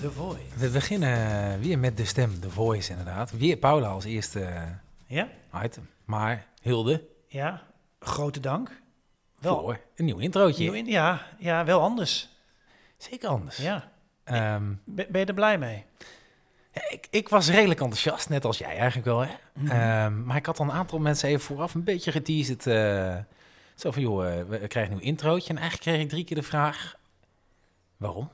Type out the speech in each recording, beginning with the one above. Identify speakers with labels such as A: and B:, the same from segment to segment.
A: The Voice.
B: We beginnen weer met de stem, de voice inderdaad. Weer Paula als eerste
A: Ja?
B: item. Maar Hilde,
A: Ja, grote dank. Wel.
B: voor een nieuw introotje.
A: Nieuw in- ja, ja, wel anders.
B: Zeker anders.
A: Ja.
B: Ehm,
A: Ben, ben je er blij mee?
B: ja, ik, ik was redelijk enthousiast, net als jij eigenlijk wel. Hè?
A: Mhm.
B: Ehm, maar ik had al een aantal mensen even vooraf een beetje geteased. eh, zo van, joh, eh, we we krijgen een nieuw introotje. En eigenlijk kreeg ik drie keer de vraag, waarom?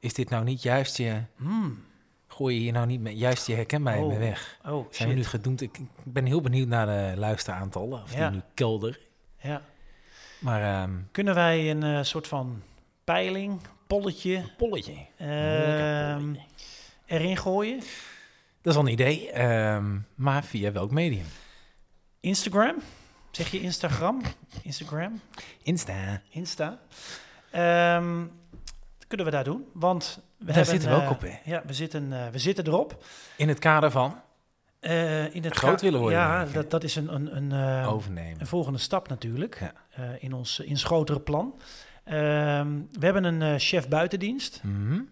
B: Is dit nou niet juist je...
A: Hmm.
B: Gooi je hier nou niet met, juist je herkenbaarheid mee
A: Oh.
B: weg?
A: Oh,
B: Zijn we nu
A: shit.
B: gedoemd? Ik, ik ben heel benieuwd naar de luisteraantallen. Of
A: Ja.
B: die nu kelder.
A: Ja.
B: Maar ehm,
A: Kunnen wij een eh, soort van peiling, polletje,
B: polletje.
A: ehm,
B: polletje.
A: erin gooien?
B: Dat is wel een idee. ehm, maar via welk medium?
A: Instagram? Zeg je Instagram? Instagram?
B: Insta.
A: Insta? Ehm, dat kunnen we daar doen? Want we
B: Daar
A: hebben,
B: zitten we ook
A: eh,
B: op, hè?
A: Ja, we zitten, eh, we zitten erop.
B: In het kader van
A: Ehm, Eh, in het
B: Groot
A: ka-
B: willen worden,
A: Ja,
B: denk ik, Oh, hè?
A: dat, dat is een, een, een, eh,
B: overnemen.
A: een volgende stap natuurlijk
B: Ja.
A: eh, in ons eh, in ons grotere plan. Ehm, we hebben een eh, chef buitendienst.
B: Mhm.
A: Vriend,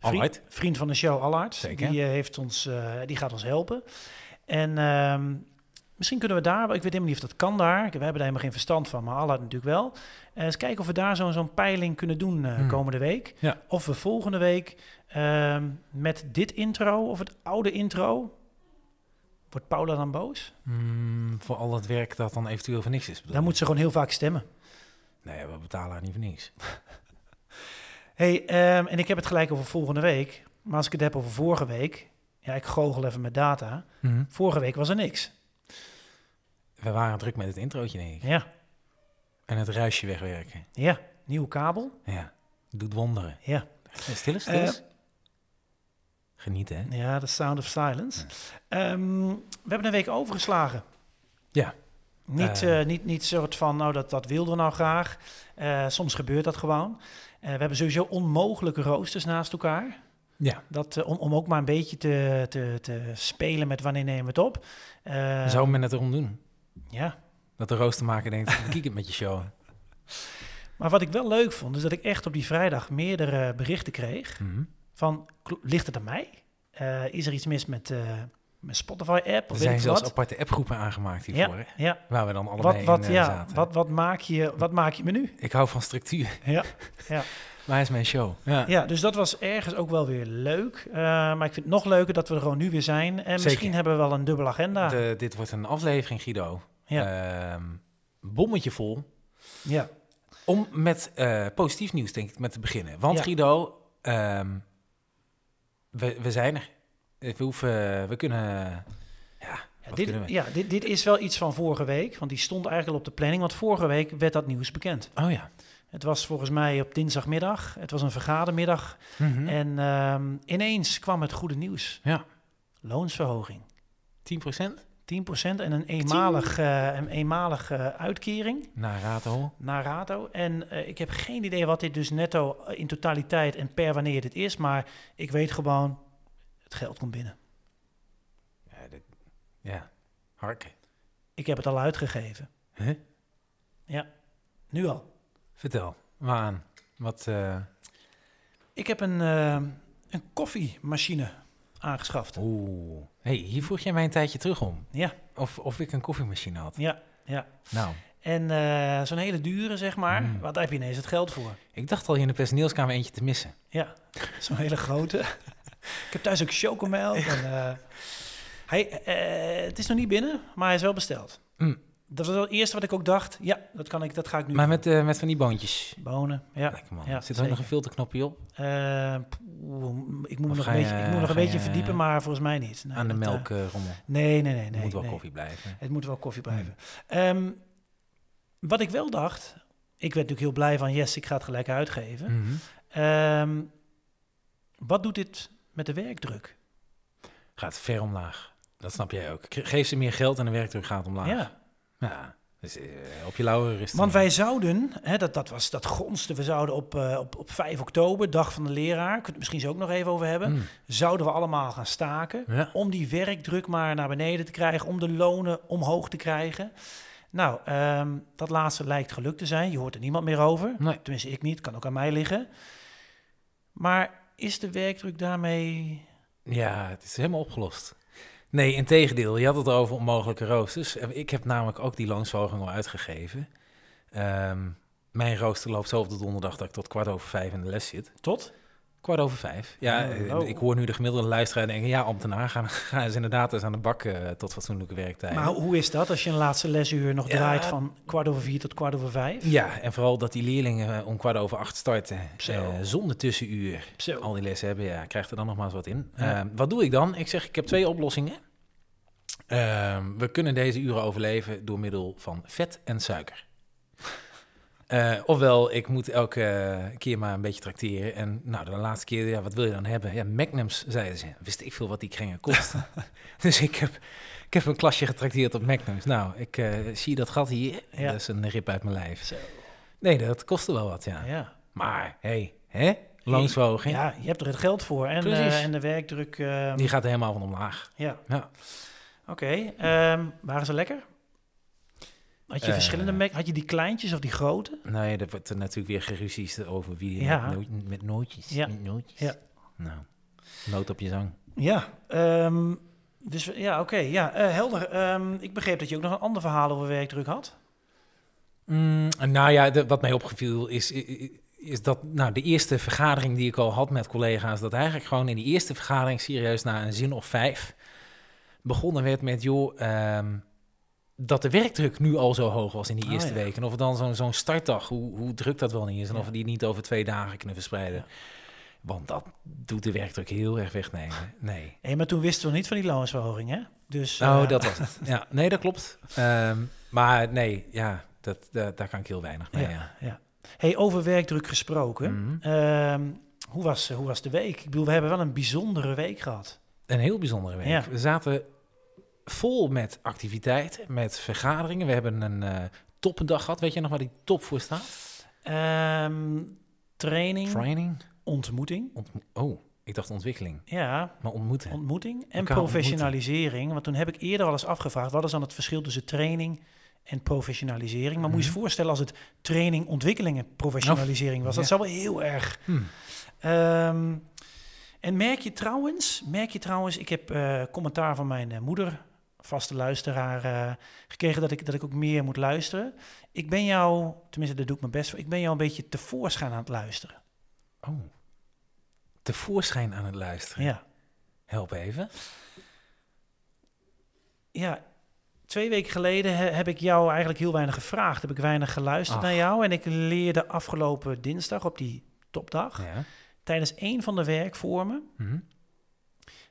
B: Alright.
A: vriend van de show Allard.
B: Zeker.
A: Die, eh, heeft ons, eh, die gaat ons helpen. En ehm, misschien kunnen we daar, ik weet helemaal niet of dat kan daar. We hebben daar helemaal geen verstand van, maar Allard natuurlijk wel. Eh, eens kijken of we daar zo'n zo'n peiling kunnen doen eh,
B: Hmm.
A: komende week.
B: Ja.
A: Of we volgende week ehm, met dit intro of het oude intro... Wordt Paula dan boos?
B: Mm, voor al het werk dat dan eventueel voor niks is. bedoel
A: Dan
B: je?
A: moet ze gewoon heel vaak stemmen.
B: Nee, we betalen haar niet voor niks.
A: Hey, ehm, en ik heb het gelijk over volgende week. Maar als ik het heb over vorige week. Ja, ik goochel even met data.
B: Mhm.
A: Vorige week was er niks.
B: We waren druk met het introotje, denk ik.
A: Ja,
B: En het ruisje wegwerken.
A: ja. Nieuwe kabel.
B: Ja, doet wonderen.
A: Ja.
B: Eh, Stil is, stil
A: Eh,
B: is. Genieten, hè?
A: Ja, de sound of silence. Ehm, we hebben een week overgeslagen.
B: Ja.
A: Niet,
B: Eh.
A: eh, niet, niet soort van, nou, dat, dat wilden we nou graag. Eh, soms gebeurt dat gewoon. Eh, we hebben sowieso onmogelijke roosters naast elkaar.
B: Ja.
A: Dat, eh, om, om ook maar een beetje te, te, te spelen met wanneer nemen we het op. Eh,
B: Zou men het erom doen?
A: Ja,
B: Dat de roostermaker denkt, kiek het met je show.
A: Mhm. Maar wat ik wel leuk vond, is dat ik echt op die vrijdag meerdere berichten kreeg.
B: Mhm.
A: Van, kl- ligt het aan mij? Eh, is er iets mis met eh, mijn Spotify-app?
B: Er
A: Of
B: zijn
A: weet ik
B: zelfs
A: wat?
B: aparte appgroepen aangemaakt hiervoor, hè?
A: Ja,
B: waar we dan allebei
A: wat, wat,
B: in eh,
A: ja
B: zaten.
A: wat, wat, maak je, wat maak je me nu?
B: Ik hou van structuur.
A: Ja.
B: Waar is mijn show? Ja.
A: ja, dus dat was ergens ook wel weer leuk. Eh, maar ik vind het nog leuker dat we er gewoon nu weer zijn. En
B: Zeker.
A: misschien hebben we wel een dubbele agenda.
B: De- dit wordt een aflevering, Guido. Ehm, bommetje vol.
A: Ja,
B: Om met eh, positief nieuws, denk ik, met te beginnen. Want
A: Ja.
B: Guido, ehm, we, we zijn er. Eh, We, hoeven, we kunnen... Ja,
A: ja,
B: wat
A: dit,
B: kunnen we?
A: ja dit, dit is wel iets van vorige week. Want die stond eigenlijk al op de planning. Want vorige week werd dat nieuws bekend.
B: Oh ja.
A: Het was volgens mij op dinsdagmiddag. Het was een vergadermiddag.
B: Mhm.
A: En ehm, ineens kwam het goede nieuws.
B: Ja.
A: Loonsverhoging.
B: 10%
A: 10% en een eenmalig, eh, een eenmalig eh, uitkering
B: naar Ratenhol.
A: naar Rato. En eh, ik heb geen idee wat dit dus netto eh, in totaliteit en per wanneer dit is. Maar ik weet gewoon, het geld komt binnen.
B: Ja, dit- ja. harken.
A: Ik heb het al uitgegeven.
B: Hè?
A: Nu al.
B: Vertel, Waan, wat... eh,
A: Ik heb een, ehm, een koffiemachine aangeschaft.
B: Oh. Oeh. hey, hier vroeg jij mij een tijdje terug om.
A: Ja,
B: Of, of ik een koffiemachine had.
A: ja, ja.
B: Nou,
A: En eh, zo'n hele dure, zeg maar.
B: Mm.
A: Wat heb je ineens het geld voor?
B: ik dacht al hier in de personeelskamer eentje te missen.
A: Ja, zo'n hele grote. ik heb thuis ook chocomelk. En, eh, hij, eh, het is nog niet binnen, maar hij is wel besteld.
B: Mm.
A: Dat was wel het eerste wat ik ook dacht. Ja, dat, kan ik, dat ga ik nu
B: Maar
A: doen.
B: met, eh, met van die boontjes.
A: bonen. Ja.
B: Lekker man.
A: ja,
B: Zit er ook
A: zeker.
B: nog een filterknopje op?
A: Eh, poeh, ik moet me
B: Of
A: nog
B: ga
A: een
B: je-
A: beetje, ik moet me nog een
B: ga
A: beetje
B: je
A: verdiepen, maar volgens mij niet. Nee,
B: Aan de
A: dat, eh,
B: melkrommel.
A: nee, nee, nee. nee
B: Moet wel
A: nee.
B: koffie Mm. blijven.
A: Het moet wel koffie blijven. Ehm, wat ik wel dacht,
B: Mm.
A: ik werd natuurlijk heel blij van yes, ik ga het gelijk uitgeven.
B: Mhm.
A: Ehm, Wat doet dit met de werkdruk?
B: Gaat ver omlaag. Dat snap jij ook. Ge- Geef ze meer geld en de werkdruk gaat omlaag.
A: Ja.
B: Ja, dus eh, op je lauwe rust.
A: Want wij zouden, hè, dat, dat was dat gonste, we zouden op, eh, op, op 5 oktober, dag van de leraar, kunnen we het misschien zo ook nog even over hebben,
B: Mm.
A: zouden we allemaal gaan staken
B: Ja.
A: om die werkdruk maar naar beneden te krijgen, om de lonen omhoog te krijgen. Nou, ehm, dat laatste lijkt gelukt te zijn. Je hoort er niemand meer over.
B: Nee.
A: Tenminste, ik niet. Kan ook aan mij liggen. Maar is de werkdruk daarmee...
B: Ja, het is helemaal opgelost. Nee, integendeel. Je had het over onmogelijke roosters. Eh, Ik heb namelijk ook die loonsverhoging al uitgegeven. Ehm, mijn rooster loopt zo op de donderdag dat ik tot kwart over vijf in de les zit.
A: Tot?
B: Kwart over vijf. Ja,
A: Oh,
B: eh,
A: oh.
B: ik hoor nu de gemiddelde luisteraar denken... ja, ambtenaar, gaan, gaan ze inderdaad eens aan de bak eh, tot fatsoenlijke werktijden.
A: Maar hoe is dat als je een laatste lesuur nog
B: Ja.
A: draait van kwart over vier tot kwart over vijf?
B: Ja, en vooral dat die leerlingen eh, om kwart over acht starten.
A: Zo.
B: eh, zonder tussenuur.
A: Zo.
B: Al die lessen hebben, ja, krijgt er dan nog maar eens wat in.
A: Ja.
B: Eh, wat doe ik dan? Ik zeg, ik heb twee oplossingen. Eh, we kunnen deze uren overleven door middel van vet en suiker. Eh, ofwel, ik moet elke eh, keer maar een beetje tracteren. En nou, de laatste keer, ja, wat wil je dan hebben? Ja, magnums, zeiden ze. Wist ik veel wat die kringen kosten. dus ik heb, ik heb een klasje getrakteerd op magnums. Nou, ik eh, zie dat gat hier.
A: Ja.
B: Dat is een rip uit mijn lijf.
A: Zo.
B: Nee, dat kostte wel wat, ja.
A: Ja.
B: Maar, hey, hè? Loonsverhoging,
A: ja, je hebt er het geld voor. En,
B: Precies.
A: eh, en de werkdruk... eh,
B: die gaat helemaal van omlaag.
A: Ja.
B: Ja.
A: Oké, ehm, waren ze lekker? Had je
B: Eh.
A: verschillende Mac? Had je die kleintjes of die grote?
B: Nee, dat wordt er natuurlijk weer geruzies over wie
A: Ja.
B: met, noot- met nootjes.
A: Ja.
B: Met nootjes.
A: Ja.
B: Nou, noot op je zang.
A: Ja. ehm, dus we- ja, oké. ja, eh, helder. Ehm, ik begreep dat je ook nog een ander verhaal over werkdruk had.
B: Mm, nou ja, de- wat mij opgeviel is, is dat nou, de eerste vergadering die ik al had met collega's, dat eigenlijk gewoon in die eerste vergadering serieus na een zin of vijf begonnen werd met, joh, ehm, dat de werkdruk nu al zo hoog was in die
A: Oh,
B: eerste
A: ja.
B: week. En of het dan zo'n zo'n startdag, hoe, hoe druk dat wel niet is. En of
A: Ja.
B: we die niet over twee dagen kunnen verspreiden.
A: Ja.
B: Want dat doet de werkdruk heel erg wegnemen. Nee.
A: Hé, maar toen wisten we nog niet van die loonsverhoging, hè? Dus,
B: Oh,
A: eh,
B: dat was het. Ja, nee, dat klopt. Ehm, maar nee, ja, dat, dat, daar kan ik heel weinig mee. ja.
A: Hey, over werkdruk gesproken.
B: Mhm.
A: Ehm, hoe, was, hoe was de week? Ik bedoel, we hebben wel een bijzondere week gehad.
B: Een heel bijzondere week.
A: Ja.
B: We zaten vol met activiteiten, met vergaderingen. We hebben een eh toppendag gehad. Weet je nog waar die top voor staat?
A: Ehm, training,
B: Training.
A: ontmoeting.
B: Ontmo- oh, ik dacht ontwikkeling,
A: Ja,
B: maar ontmoeten.
A: Ontmoeting en
B: Elkaar
A: professionalisering. Want toen heb ik eerder al eens afgevraagd: wat is dan het verschil tussen training en professionalisering? Maar
B: Mhm.
A: moet je je voorstellen als het training, ontwikkeling en professionalisering was. Dat
B: Ja.
A: zou wel heel erg.
B: Hmm.
A: Ehm, en merk je trouwens, merk je trouwens, ik heb eh, commentaar van mijn eh, moeder, vaste luisteraar, eh, gekregen dat ik, dat ik ook meer moet luisteren. Ik ben jou, tenminste, daar doe ik mijn best voor, ik ben jou een beetje tevoorschijn aan het luisteren.
B: Oh. Tevoorschijn aan het luisteren.
A: Ja.
B: Help even.
A: ja, twee weken geleden he- heb ik jou eigenlijk heel weinig gevraagd. Heb ik weinig geluisterd
B: Ach.
A: naar jou. En ik leerde afgelopen dinsdag op die topdag,
B: Ja.
A: tijdens een van de werkvormen,
B: Mhm.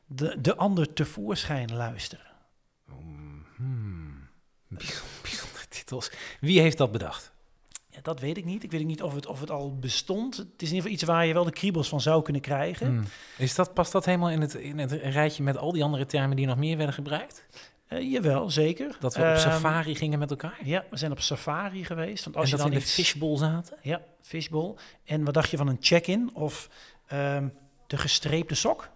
A: de, de ander tevoorschijn luisteren.
B: Hmm. Bijz- Bijzondere titels. Wie heeft dat bedacht?
A: Ja, dat weet ik niet. Ik weet ook niet of het, of het al bestond. Het is in ieder geval iets waar je wel de kriebels van zou kunnen krijgen.
B: Hmm. Is dat, past dat helemaal in het, in het rijtje met al die andere termen die nog meer werden gebruikt?
A: Eh, jawel, zeker.
B: Dat we op
A: Ehm,
B: safari gingen met elkaar?
A: Ja, we zijn op safari geweest. Want als
B: en
A: je
B: dat we
A: dan
B: in de
A: iets-
B: fishbowl zaten?
A: Ja, fishbowl. En wat dacht je van een check-in of ehm, de gestreepte sok?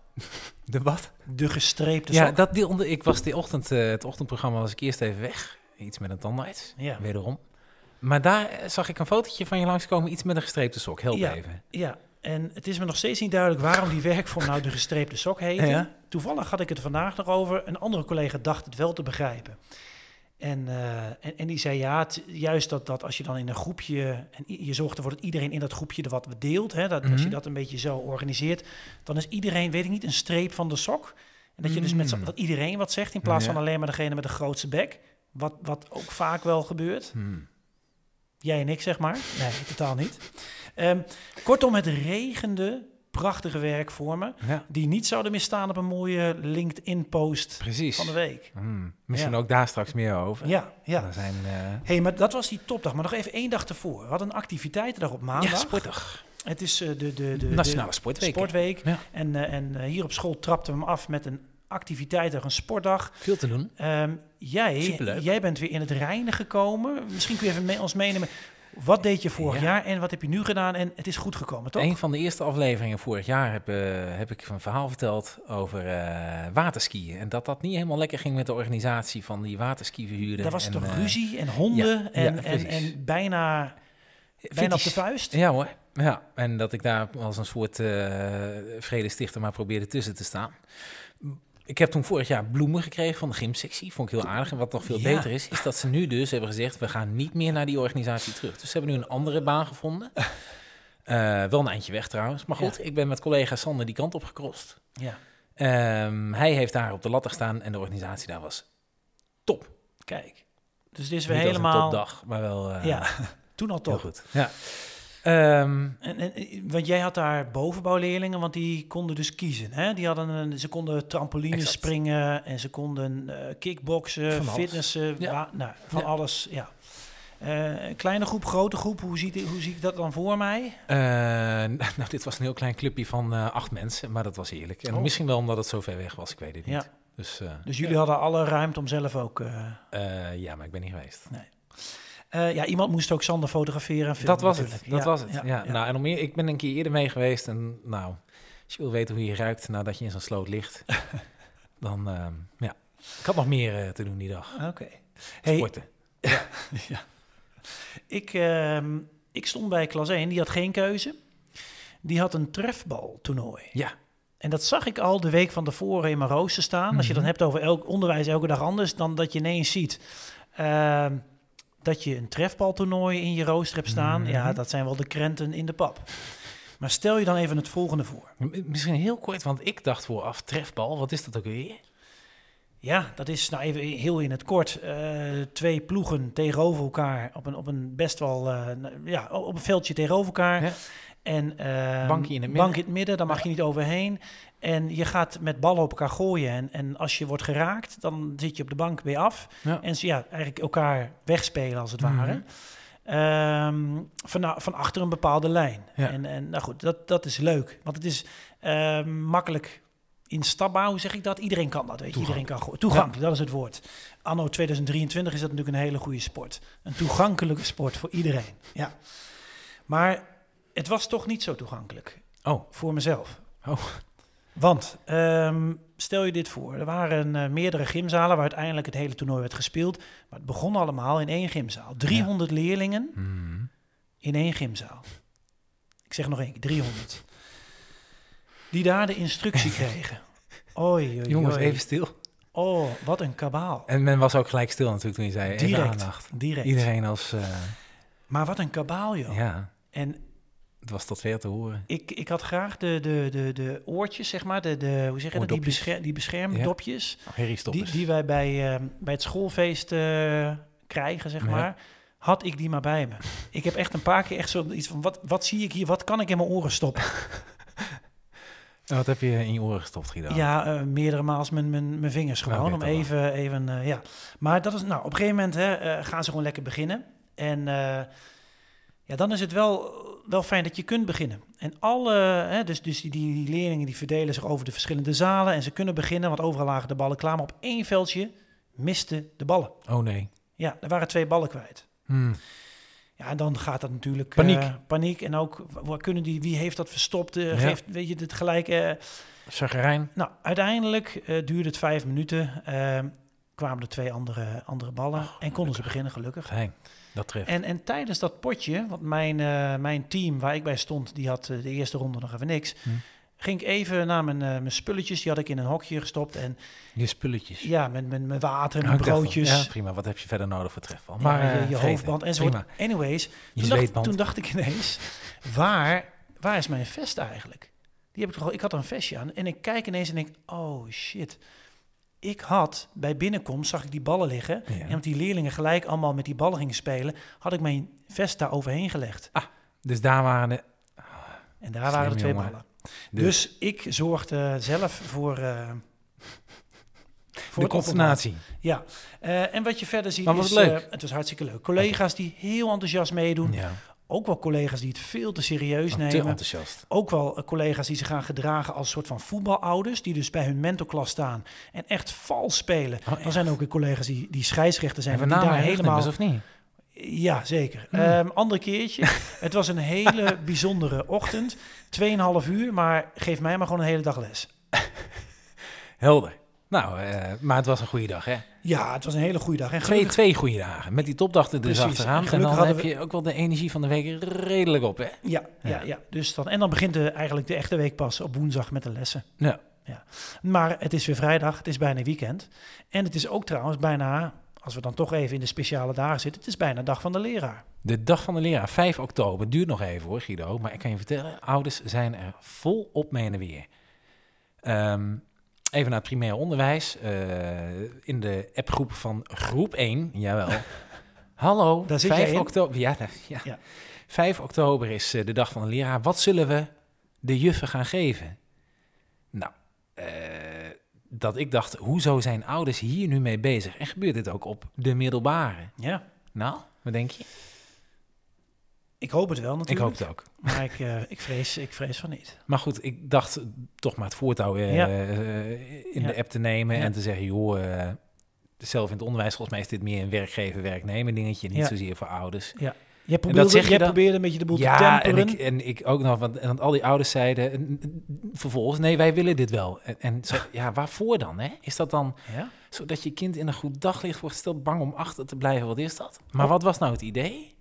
B: De wat?
A: De gestreepte
B: ja,
A: sok.
B: dat die onder, ik was die ochtend, eh, het ochtendprogramma was ik eerst even weg. Iets met een tandarts,
A: Ja.
B: wederom. Maar daar eh, zag ik een fotootje van je langskomen, iets met een gestreepte sok. Help
A: Ja.
B: even.
A: Ja, en het is me nog steeds niet duidelijk waarom die werkvorm nou de gestreepte sok heet.
B: Ja.
A: Toevallig had ik het er vandaag nog over. Een andere collega dacht het wel te begrijpen. En, eh, en, en die zei ja, het- juist dat, dat als je dan in een groepje, en i- je zorgt ervoor dat iedereen in dat groepje er wat deelt, hè, dat, als je
B: Mhm.
A: dat een beetje zo organiseert, dan is iedereen, weet ik niet, een streep van de sok. En dat je dus met z'n-
B: Mm.
A: dat iedereen wat zegt in plaats
B: Ja.
A: van alleen maar degene met de grootste bek, wat, wat ook vaak wel gebeurt.
B: Hmm.
A: Jij en ik, zeg maar. Nee, totaal niet. Ehm, kortom, het regende prachtige werkvormen...
B: Ja,
A: die niet zouden misstaan op een mooie LinkedIn-post
B: precies.
A: van de week.
B: Hmm. Misschien
A: Ja.
B: ook daar straks meer over.
A: Ja, ja.
B: Daar zijn, eh,
A: hey, maar dat was die topdag. Maar nog even één dag ervoor. We hadden een activiteitendag op maandag.
B: ja, sportig.
A: Het is eh, de, de, de,
B: Nationale
A: de
B: Sportweek.
A: sportweek.
B: Ja.
A: En, eh, en eh, hier op school trapten we hem af met een activiteitdag, een sportdag.
B: Veel te doen.
A: Ehm, jij,
B: Superleuk.
A: jij bent weer in het reinen gekomen. Misschien kun je even mee, ons meenemen. Wat deed je vorig
B: Ja.
A: jaar en wat heb je nu gedaan? En het is goed gekomen, toch?
B: Een van de eerste afleveringen vorig jaar heb, eh, heb ik een verhaal verteld over eh, waterskiën. En dat dat niet helemaal lekker ging met de organisatie van die waterskiverhuurder.
A: Daar was
B: en,
A: toch
B: eh,
A: ruzie en honden
B: ja,
A: en,
B: ja,
A: en,
B: precies.
A: en bijna, bijna op de
B: fitties.
A: vuist.
B: Ja hoor. Ja, en dat ik daar als een soort eh vredestichter maar probeerde tussen te staan. Ik heb toen vorig jaar bloemen gekregen van de gymsectie. Vond ik heel aardig. En wat nog veel
A: Ja.
B: beter is, is dat ze nu dus hebben gezegd... we gaan niet meer naar die organisatie terug. Dus ze hebben nu een andere baan gevonden. Eh, wel een eindje weg trouwens. Maar goed, ik ben met collega Sander die kant op gekrost.
A: Ja,
B: Ehm, hij heeft daar op de ladder gestaan en de organisatie daar was top.
A: kijk. Dus dit is weer
B: Niet als een
A: helemaal...
B: topdag, maar wel eh,
A: ja, toen al
B: heel
A: toch.
B: goed. Ja. Ehm,
A: En, en- en- want jij had daar bovenbouwleerlingen, want die konden dus kiezen. Hè? Die hadden een, ze konden trampolines
B: Exact.
A: springen en ze konden eh kickboksen,
B: Van alles.
A: fitnessen,
B: Ja.
A: wa- nou, van
B: Ja.
A: alles. Ja. Eh, kleine groep, grote groep, hoe zie, hoe zie ik dat dan voor mij?
B: Eh, nou, dit was een heel klein clubje van eh, acht mensen, maar dat was heerlijk. En
A: Oh.
B: misschien wel omdat het zo ver weg was, ik weet het niet.
A: Ja.
B: Dus eh,
A: Dus jullie hadden alle ruimte om zelf ook... eh,
B: eh, ja, maar ik ben niet geweest.
A: eh, ja, iemand moest ook Sander fotograferen. en
B: dat
A: filmen
B: was het.
A: natuurlijk.
B: Dat
A: Ja,
B: was het. Ja,
A: ja.
B: Nou, en om eer- ik ben een keer eerder mee geweest. En nou, als je wil weten hoe je ruikt nadat je in zo'n sloot ligt, dan ehm, ja. Ik had nog meer eh, te doen die dag.
A: Oké. Hey,
B: Sporten.
A: Ik, ehm, ik stond bij klas 1, die had geen keuze. Die had een trefbaltoernooi.
B: Ja.
A: En dat zag ik al de week van tevoren in mijn rooster staan. Als je dan
B: Mhm.
A: hebt over elk onderwijs elke dag anders, dan dat je ineens ziet ehm, dat je een trefbaltoernooi in je rooster hebt staan. Ja,
B: Mhm.
A: dat zijn wel de krenten in de pap. Maar stel je dan even het volgende voor.
B: M- Misschien heel kort, want ik dacht vooraf, trefbal, wat is dat ook weer?
A: Ja, dat is nou even heel in het kort. eh, twee ploegen tegenover elkaar op een, op een best wel eh, nou, ja, op een veldje tegenover elkaar.
B: Ja.
A: En, ehm,
B: Bankje in het midden.
A: Bankje in het midden, daar mag je niet overheen. En je gaat met ballen op elkaar gooien. En, en als je wordt geraakt, dan zit je op de bank weer af.
B: Ja.
A: En ze ja, eigenlijk elkaar wegspelen als het ware.
B: Mhm.
A: Ehm, van, van achter een bepaalde lijn.
B: Ja.
A: En, en nou goed, dat, dat is leuk. Want het is ehm, makkelijk instapbaar, hoe zeg ik dat? Iedereen kan dat, weet je. Iedereen kan go- Toegankelijk, dat is het woord. Anno 2023 is dat natuurlijk een hele goede sport. Een toegankelijke sport voor iedereen. Ja. Maar het was toch niet zo toegankelijk
B: Oh,
A: voor mezelf.
B: Oh.
A: Want, ehm, stel je dit voor, er waren eh, meerdere gymzalen waar uiteindelijk het hele toernooi werd gespeeld. Maar het begon allemaal in één gymzaal. 300 leerlingen
B: hmm.
A: in één gymzaal. Ik zeg nog één keer, 300. Die daar de instructie kregen. Oei, oei,
B: jongens,
A: oei.
B: even stil.
A: Oh, wat een kabaal.
B: En men was ook gelijk stil natuurlijk toen je zei, even
A: Direct.
B: aandacht.
A: Direct.
B: Iedereen als, eh,
A: Maar wat een kabaal, joh.
B: ja,
A: En
B: Het was tot ver te horen.
A: Ik, ik had graag de, de, de, de oortjes, zeg maar, de, de, hoe zeg je dat, die,
B: Oordopjes.
A: bescher, die beschermdopjes,
B: Nou, Harry
A: die,
B: Stoppers.
A: die wij bij, eh, bij het schoolfeest eh, krijgen, zeg
B: Ja.
A: maar, had ik die maar bij me. Ik heb echt een paar keer echt zoiets van, wat, wat zie ik hier, wat kan ik in mijn oren stoppen?
B: En wat heb je in je oren gestopt, Guido?
A: Ja, eh, meerdere maals mijn, mijn, mijn vingers
B: Nou, oké,
A: gewoon. om
B: dan wel.
A: even, even eh, ja. Maar dat is, nou, op een gegeven moment hè, eh, gaan ze gewoon lekker beginnen. En eh, ja, dan is het wel, wel fijn dat je kunt beginnen. En alle, hè, dus, dus die, die leerlingen die verdelen zich over de verschillende zalen. En ze kunnen beginnen, want overal lagen de ballen klaar. Maar op één veldje misten de ballen.
B: Oh nee.
A: Ja, er waren twee ballen kwijt.
B: Hmm.
A: Ja, en dan gaat dat natuurlijk...
B: Paniek.
A: eh, paniek. En ook, wa- waar kunnen die, wie heeft dat verstopt? Eh,
B: Ja.
A: Geeft, weet je, dit gelijk... eh,
B: Zagrijn.
A: nou, uiteindelijk eh, duurde het vijf minuten. ehm, kwamen er twee andere, andere ballen en konden ze beginnen, gelukkig.
B: Geheim. Dat treft.
A: En, en tijdens dat potje, want mijn, eh, mijn team waar ik bij stond, die had eh, de eerste ronde nog even niks.
B: Hm.
A: Ging ik even naar mijn, eh, mijn spulletjes, die had ik in een hokje gestopt. En
B: Je spulletjes.
A: ja, met mijn, mijn water,
B: Nou,
A: mijn
B: ik dacht al,
A: broodjes,
B: ja, prima. Wat heb je verder nodig voor trefbal?
A: maar,
B: eh,
A: je, je
B: vergeten.
A: hoofdband enzovoort.
B: Prima.
A: Anyways,
B: Je
A: toen dacht,
B: zweetband.
A: toen dacht ik ineens, waar, waar is mijn vest eigenlijk? Die heb ik, toch al, ik had een vestje aan en ik kijk ineens en denk, oh shit. Ik had, bij binnenkomst zag ik die ballen liggen.
B: Ja.
A: En omdat die leerlingen gelijk allemaal met die ballen gingen spelen, had ik mijn vest daar overheen gelegd.
B: Dus daar waren de...
A: En daar waren de
B: Slim,
A: twee
B: jongen.
A: ballen. Dus.
B: Dus-
A: ik zorgde zelf voor... eh, voor
B: de
A: het oppermaat.
B: consternatie.
A: Ja, Eh, en wat je verder ziet
B: Maar was
A: is...
B: het leuk?
A: eh, het was hartstikke leuk. Collega's die heel enthousiast meedoen.
B: Ja.
A: ook wel collega's die het veel te serieus
B: Oh, Te
A: nemen.
B: enthousiast.
A: Ook wel eh, collega's die zich gaan gedragen als soort van voetbalouders, die dus bij hun mentorklas staan en echt vals spelen.
B: Oh, echt?
A: Dan zijn er ook weer collega's die, die scheidsrechter zijn,
B: En we
A: die
B: namen
A: daar
B: helemaal...
A: helemaal
B: of niet?
A: ja, zeker.
B: Hmm.
A: Ehm ander keertje. het was een hele bijzondere ochtend. Tweeënhalf uur, maar geef mij maar gewoon een hele dag les.
B: Helder. Nou, eh, maar het was een goede dag, hè?
A: Ja, het was een hele goede dag. En
B: Twee,
A: gelukkig,
B: twee goede dagen. Met die topdag er dus
A: Precies. En
B: achteraan. En
A: gelukkig
B: dan
A: hadden
B: heb je ook wel de energie van de week redelijk op, hè?
A: ja, ja,
B: Ja.
A: ja. Dus dan, en dan begint de, eigenlijk de echte week pas op woensdag met de lessen.
B: Ja.
A: Maar het is weer vrijdag, het is bijna weekend. En het is ook trouwens bijna, als we dan toch even in de speciale dagen zitten, het is bijna dag van de leraar.
B: De dag van de leraar, 5 oktober. Duurt nog even hoor, Guido. Maar ik kan je vertellen, ouders zijn er volop mee en weer. Ehm, even naar het primair onderwijs. Eh, in de appgroep van groep 1, jawel. Hallo,
A: Daar zit
B: 5
A: jij in?
B: oktober. Ja, daar- ja.
A: Ja.
B: 5 oktober is eh, de dag van de leraar. Wat zullen we de juffen gaan geven? Nou, eh, dat ik dacht, hoezo zijn ouders hier nu mee bezig? En gebeurt dit ook op de middelbare?
A: Ja,
B: Nou, wat denk je?
A: ik hoop het wel
B: Ik
A: natuurlijk.
B: hoop het ook.
A: Maar ik, eh, ik, vrees, ik vrees van niet.
B: Maar goed, ik dacht toch maar het voortouw eh,
A: Ja.
B: eh, in
A: Ja.
B: de app te nemen
A: Ja.
B: en te zeggen, joh, eh, zelf in het onderwijs, volgens mij is dit meer een werkgever-werknemer dingetje, niet
A: Ja.
B: zozeer voor ouders.
A: Jij probeerde,
B: zeg je
A: jij
B: dan-
A: probeerde een beetje de boel te
B: Ja, en
A: temperen.
B: ik, en ik ook nog, want, en want al die ouders zeiden eh, n- n- vervolgens, nee, wij willen dit wel. En, en ze- ja, waarvoor dan? Hè? Is dat dan
A: Ja?
B: zodat je kind in een goed daglicht wordt gesteld, bang om achter te blijven? Wat is dat? Maar wat was nou het idee?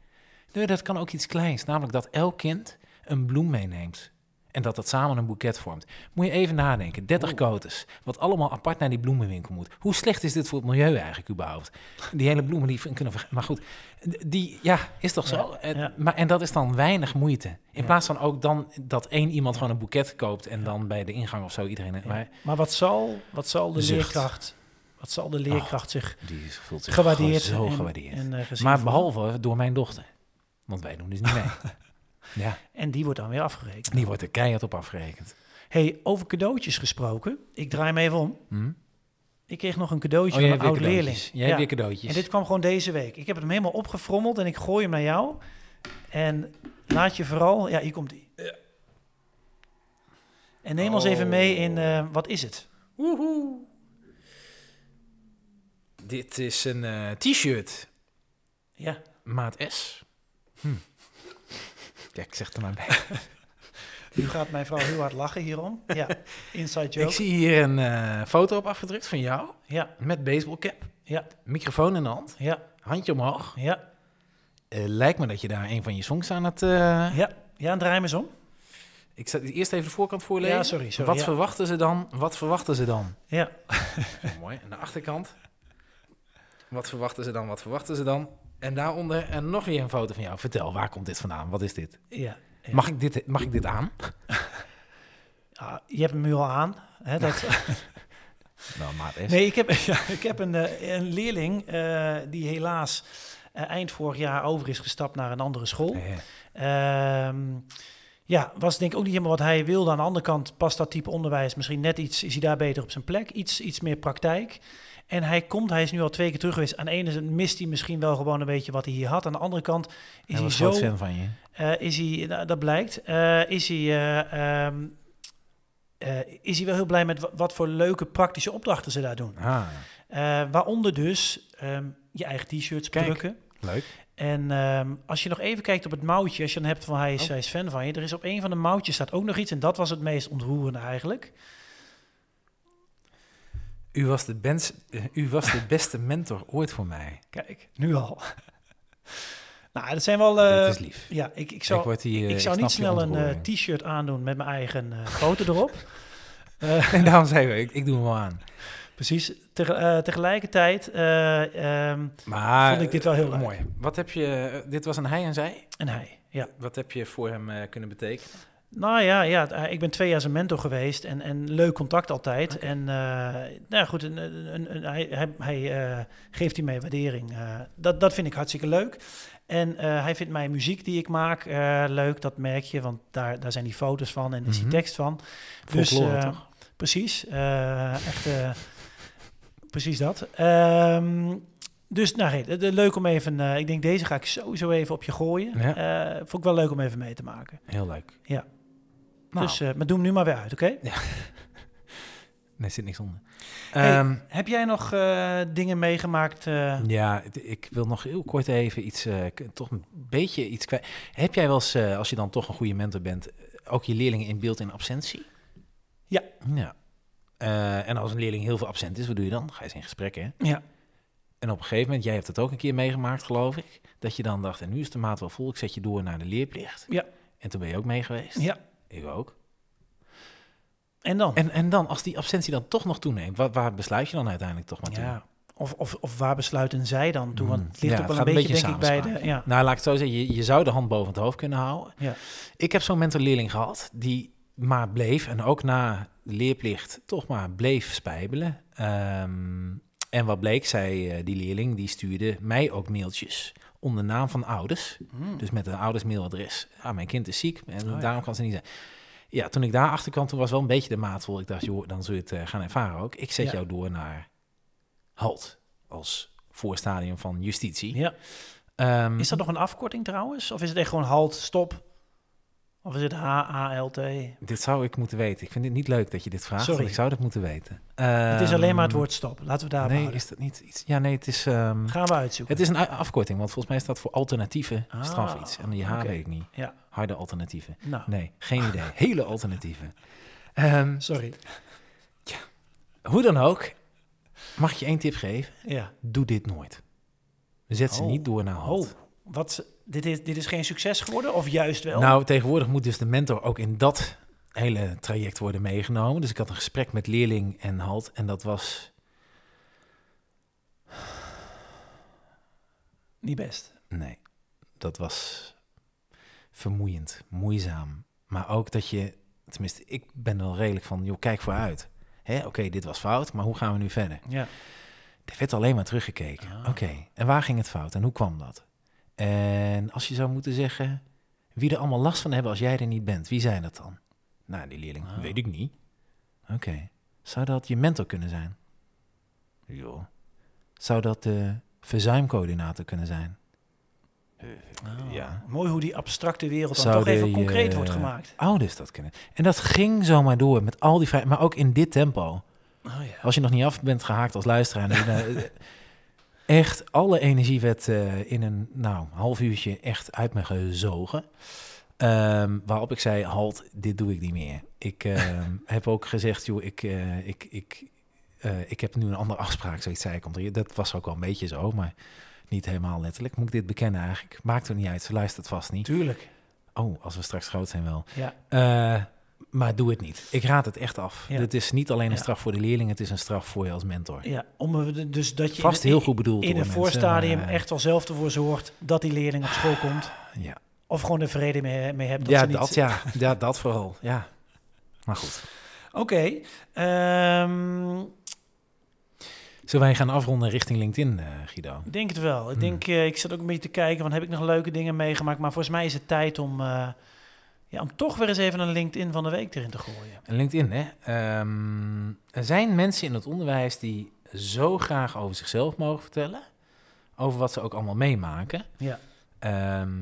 B: Nee, dat kan ook iets kleins, namelijk dat elk kind een bloem meeneemt. En dat dat samen een boeket vormt. Moet je even nadenken. 30 kotes. Wat allemaal apart naar die bloemenwinkel moet. Hoe slecht is dit voor het milieu eigenlijk überhaupt? Die hele bloemen die kunnen... verga- Maar goed, die... Ja, is toch zo?
A: Ja,
B: Eh,
A: ja.
B: Maar, en dat is dan weinig moeite. In
A: Ja.
B: plaats van ook dan dat één iemand gewoon een boeket koopt... en dan bij de ingang of zo iedereen... Maar
A: Maar wat zal, wat zal de
B: Zucht. Oh.
A: leerkracht, wat zal de leerkracht zich
B: die is- voelt zich
A: gewaardeerd
B: gewoon zo
A: en-
B: gewaardeerd.
A: en eh, gezien
B: maar
A: voelen?
B: behalve door mijn dochter. Want wij doen dus niet mee. ja,
A: En die wordt dan weer afgerekend.
B: die wordt er keihard op afgerekend.
A: hey, over cadeautjes gesproken. Ik draai hem even om.
B: Hm?
A: Ik kreeg nog een cadeautje
B: Oh, jij
A: van
B: hebt
A: een
B: weer
A: oud leerling.
B: cadeautjes. Jij
A: Ja.
B: hebt weer cadeautjes.
A: En dit kwam gewoon deze week. Ik heb hem helemaal opgefrommeld en ik gooi hem naar jou. En laat je vooral... Ja, hier komt ie. En neem ons
B: Oh.
A: even mee in... eh, wat is het?
B: Dit is een eh, t-shirt,
A: Ja.
B: maat S. Hm. Ja, ik zeg er maar bij.
A: Nu gaat mijn vrouw heel hard lachen hierom. Ja, inside joke.
B: Ik zie hier een eh, foto op afgedrukt van jou.
A: Ja,
B: Met baseballcap.
A: Ja.
B: Microfoon in de hand.
A: ja,
B: Handje omhoog.
A: ja,
B: Eh, lijkt me dat je daar een van je songs aan het... eh,
A: ja. Ja, en draai hem eens om.
B: Ik zal eerst even de voorkant voorlezen.
A: Ja, sorry, sorry,
B: Wat
A: ja.
B: verwachten ze dan? Wat verwachten ze dan?
A: Ja,
B: Zo Oh, mooi. En de achterkant. Wat verwachten ze dan? Wat verwachten ze dan? En daaronder en nog weer een foto van jou. Vertel, waar komt dit vandaan? Wat is dit?
A: ja. ja.
B: Mag ik dit, mag ik dit aan?
A: Ah, je hebt hem nu al aan. Hè, dat,
B: Nou, maat is.
A: Nee, ik heb, ja, ik heb een, eh, een leerling eh, die helaas eh, eind vorig jaar over is gestapt naar een andere school.
B: Eh,
A: Ehm, ja, was denk ik ook niet helemaal wat hij wilde. Aan de andere kant past dat type onderwijs misschien net iets, is hij daar beter op zijn plek, iets, iets meer praktijk. En hij komt, hij is nu al twee keer terug geweest. Aan de ene kant mist hij misschien wel gewoon een beetje wat hij hier had. Aan de andere kant is
B: hij
A: hij
B: was
A: zo
B: groot fan van je.
A: eh, is hij, nou, dat blijkt, eh, is hij, eh, ehm, eh, is hij wel heel blij met wa- wat voor leuke praktische opdrachten ze daar doen.
B: Ah,
A: Eh, waaronder dus ehm, je eigen t-shirts
B: Kijk.
A: drukken.
B: leuk.
A: En ehm, als je nog even kijkt op het mouwtje, als je dan hebt van hij is,
B: Oh.
A: hij is fan van je, er is op een van de mouwtjes staat ook nog iets en dat was het meest ontroerende eigenlijk.
B: U was, de bens, eh, u was de beste mentor ooit voor mij.
A: Kijk, nu al. nou, dat zijn wel... eh,
B: dit is lief.
A: ja, ik, ik zou,
B: ik, word hier, eh,
A: ik
B: snap
A: zou niet
B: je
A: snel een eh,
B: ontroering.
A: t-shirt aandoen met mijn eigen eh, foto erop.
B: En daarom zei we, ik, ik doe hem wel aan.
A: Precies. Tege- eh, tegelijkertijd eh, ehm,
B: Maar
A: vond ik dit wel heel
B: eh,
A: leuk.
B: mooi. Wat heb je, eh, dit was een hij en zij.
A: En hij, ja.
B: Wat heb je voor hem eh, kunnen betekenen?
A: Nou ja, ja het- eh, ik ben twee jaar zijn mentor geweest en, en leuk contact altijd. En eh, nou ja, goed, een, een, een- een- hij, hij, hij eh, geeft die mij waardering. Eh, dat, dat vind ik hartstikke leuk. En eh, hij vindt mijn muziek die ik maak eh, leuk, dat merk je, want daar, daar zijn die foto's van en is die
B: Mhm.
A: tekst van.
B: Folklore,
A: eh,
B: toch?
A: Precies, eh, echt eh, precies dat. Ehm, Dus nou, hey, de- de- leuk om even, eh, ik denk deze ga ik sowieso even op je gooien.
B: Ja.
A: Eh, vond ik wel leuk om even mee te maken.
B: Heel leuk.
A: Ja.
B: Nou,
A: Dus, eh, maar doe hem nu maar weer uit, oké?
B: nee, zit niks onder.
A: Hey,
B: Ehm,
A: Heb jij nog eh, dingen meegemaakt? eh,
B: Ja, d- ik wil nog heel kort even iets, eh, k- toch een beetje iets kwijt. Heb jij wel eens, eh, als je dan toch een goede mentor bent, eh, ook je leerlingen in beeld in absentie?
A: Ja.
B: ja. Eh, en als een leerling heel veel absent is, wat doe je dan? Ga je eens in gesprek, hè?
A: ja.
B: En op een gegeven moment, jij hebt het ook een keer meegemaakt, geloof ik, dat je dan dacht, en nu is de maat wel vol, ik zet je door naar de leerplicht.
A: Ja.
B: En toen ben je ook mee geweest.
A: ja.
B: Ik ook.
A: En dan?
B: En, en dan, als die absentie dan toch nog toeneemt, waar, waar besluit je dan uiteindelijk toch maar toe?
A: ja. Of, of, of waar besluiten zij dan toe? Want het
B: Mm.
A: ligt
B: Ja, het
A: ook wel een
B: gaat
A: beetje, denk ik, bij de... Ja.
B: Nou, laat ik het zo zeggen, je, je zou de hand boven het hoofd kunnen houden.
A: Ja.
B: Ik heb zo'n mentorleerling gehad die maar bleef en ook na de leerplicht toch maar bleef spijbelen. Ehm, en wat bleek, zei eh, die leerling, die stuurde mij ook mailtjes onder naam van ouders.
A: Mm.
B: Dus met een ouders mailadres. Ah, mijn kind is ziek en
A: Oh, ja.
B: daarom kan ze niet zijn. Ja, toen ik daar achter kwam, toen was wel een beetje de maat vol. Ik dacht, joh, dan zul je het eh, gaan ervaren ook. Ik zet
A: Ja.
B: jou door naar HALT als voorstadium van justitie.
A: ja.
B: Ehm,
A: Is dat nog een afkorting trouwens? Of is het echt gewoon halt, stop? Of is het H-A-L-T?
B: Dit zou ik moeten weten. Ik vind het niet leuk dat je dit vraagt,
A: Sorry.
B: want ik zou dat moeten weten.
A: het is alleen maar het
B: Ehm,
A: woord stop. Laten we daar
B: Nee,
A: houden.
B: is dat niet iets? Ja, nee, het is, ehm,
A: Gaan we uitzoeken.
B: het is een u- afkorting, want volgens mij staat voor alternatieve
A: Ah,
B: straf iets. En die H
A: oké.
B: weet ik niet.
A: Ja.
B: Harde alternatieven.
A: Nou,
B: Nee, geen idee. Hele alternatieven. Ehm,
A: sorry.
B: hoe dan ook, mag ik je één tip geven?
A: Ja.
B: Doe dit nooit. Zet ze
A: Oh.
B: niet door naar hand.
A: Oh, wat, ze- dit, is, dit is geen succes geworden? Of juist wel?
B: Nou, tegenwoordig moet dus de mentor ook in dat hele traject worden meegenomen. Dus ik had een gesprek met leerling en halt en dat was...
A: Niet best.
B: Nee, dat was vermoeiend, moeizaam. Maar ook dat je, tenminste, ik ben wel redelijk van, joh, kijk vooruit. Hè, Oké, dit was fout, maar hoe gaan we nu verder?
A: Ja.
B: Er werd alleen maar teruggekeken.
A: Ah.
B: Oké, en waar ging het fout en hoe kwam dat? En als je zou moeten zeggen, wie er allemaal last van hebben als jij er niet bent, wie zijn dat dan? Nou, die leerling,
A: Ah.
B: weet ik niet. Oké, zou dat je mentor kunnen zijn? Joh. Zou dat de verzuimcoördinator kunnen zijn? Ja.
A: Mooi hoe die abstracte wereld dan
B: Ah. Zou
A: toch even
B: die,
A: concreet
B: eh,
A: wordt gemaakt.
B: ouders dat kunnen. En dat ging zomaar door met al die vrijheid, maar ook in dit tempo.
A: Oh ja.
B: Als je nog niet af bent gehaakt als luisteraar. en je, nou, echt alle energie werd eh, in een nou, half uurtje echt uit me gezogen. Ehm, waarop ik zei, halt, dit doe ik niet meer. Ik ehm, heb ook gezegd, joh, ik, eh, ik, ik, eh, ik heb nu een andere afspraak, zoiets zei ik. om drie- Dat was ook wel een beetje zo, maar niet helemaal letterlijk. Moet ik dit bekennen eigenlijk? Maakt er niet uit, ze luistert vast niet.
A: Tuurlijk.
B: Oh, als we straks groot zijn wel.
A: Ja.
B: Eh, maar doe het niet. Ik raad het echt af.
A: Ja.
B: Het is niet alleen een
A: Ja.
B: straf voor de leerling, het is een straf voor je als mentor.
A: ja. Om, er- dus dat je
B: Vast
A: in,
B: heel goed bedoeld.
A: in
B: door
A: een
B: mensen,
A: voorstadium
B: maar, eh,
A: echt wel zelf ervoor zorgt dat die leerling op school komt.
B: Ja,
A: Of gewoon er vrede mee, mee hebt. Dat
B: ja
A: ze niet,
B: dat ja. ja, dat vooral. Ja. Maar goed.
A: Oké. ehm,
B: Zullen wij gaan afronden richting LinkedIn, eh, Guido?
A: ik denk het wel.
B: Hmm.
A: Ik denk, eh, ik zat ook een beetje te kijken, van heb ik nog leuke dingen meegemaakt? Maar volgens mij is het tijd om, eh, ja, om toch weer eens even een LinkedIn van de week erin te gooien.
B: En LinkedIn, hè? Ehm, er zijn mensen in het onderwijs die zo graag over zichzelf mogen vertellen. Over wat ze ook allemaal meemaken.
A: Ja.
B: Ehm,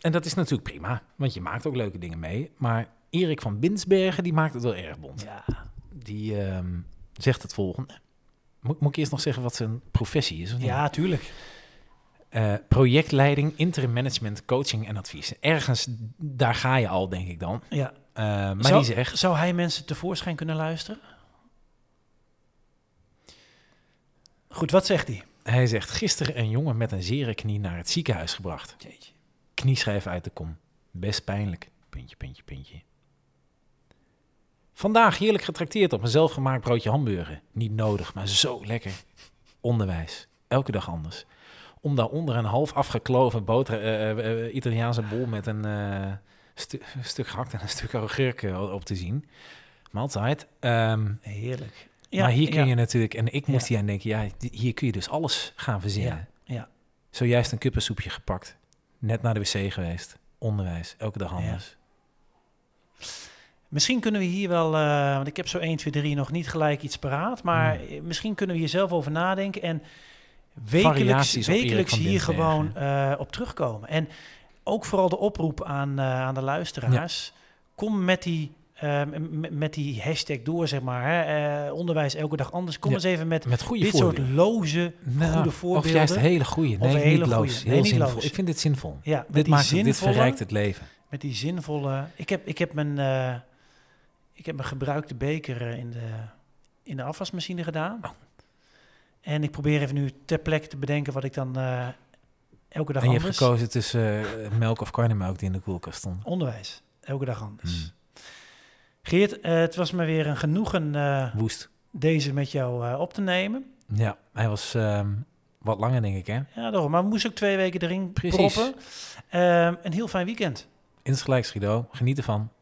B: en dat is natuurlijk prima, want je maakt ook leuke dingen mee. Maar Erik van Binsbergen, die maakt het wel erg bond.
A: Ja.
B: Die ehm, zegt het volgende. Mo- moet ik eerst nog zeggen wat zijn professie is? of niet?
A: ja, tuurlijk.
B: Eh, projectleiding, interim management, coaching en advies. Ergens, daar ga je al, denk ik dan.
A: Ja.
B: Eh, maar
A: Zou-
B: die zegt...
A: Zou hij mensen tevoorschijn kunnen luisteren? Goed, wat zegt hij?
B: Hij zegt, gisteren een jongen met een zere knie naar het ziekenhuis gebracht. Knieschijf uit de kom. Best pijnlijk. Puntje, puntje, puntje. Vandaag heerlijk getrakteerd op een zelfgemaakt broodje hamburger. Niet nodig, maar zo lekker. Onderwijs. Elke dag anders. Om daaronder een half afgekloven boter, eh, eh, eh, Italiaanse bol met een eh, stu- een stuk gehakt en een stuk augurk eh, op te zien. Maaltijd. Ehm,
A: Heerlijk. Ja,
B: maar hier kun
A: ja,
B: je natuurlijk, en ik moest
A: Ja.
B: hier aan denken, ja, di- hier kun je dus alles gaan verzinnen.
A: ja.
B: Zojuist een kuppensoepje gepakt, net naar de wc geweest, onderwijs, elke dag anders.
A: Misschien kunnen we hier wel, eh, want ik
B: Hmm.
A: heb zo 1, 2, 3 nog niet gelijk iets paraat, maar eh, misschien kunnen we hier zelf over nadenken. En wekelijks,
B: Variaties op Erik
A: wekelijks
B: van
A: hier
B: Denbergen.
A: gewoon eh, op terugkomen. En ook vooral de oproep aan, eh, aan de luisteraars. Kom met die, eh, m- m- met die hashtag door, zeg maar. Hè. Eh, onderwijs elke dag anders. Kom
B: Ja.
A: eens even met
B: Met goede
A: dit
B: voorbeelden.
A: soort loze...
B: Nou,
A: goede
B: Of
A: voorbeelden.
B: juist hele goede.
A: Of
B: Nee,
A: hele
B: niet
A: goede.
B: loos.
A: Nee,
B: Heel
A: niet
B: zinvol.
A: loos.
B: Ik vind dit zinvol.
A: Ja, met
B: Dit,
A: die
B: maakt het, dit
A: zinvolle-
B: verrijkt het leven.
A: Met die zinvolle... Ik heb, ik heb, mijn, eh, ik heb mijn gebruikte beker eh, in de, in de afwasmachine gedaan.
B: Oh.
A: En ik probeer even nu ter plekke te bedenken wat ik dan eh, elke dag
B: en je hebt
A: anders...
B: gekozen tussen eh, melk of karnemelk die in de koelkast stond.
A: Onderwijs, elke dag anders.
B: Hmm.
A: Geert, eh, het was me weer een genoegen eh,
B: Woest.
A: deze met jou eh, op te nemen.
B: Ja, hij was ehm, wat langer, denk ik, hè?
A: Ja, daarom. Maar we moesten ook twee weken erin
B: Precies.
A: proppen. Ehm, een heel fijn weekend.
B: Insgelijks, Guido. Geniet ervan.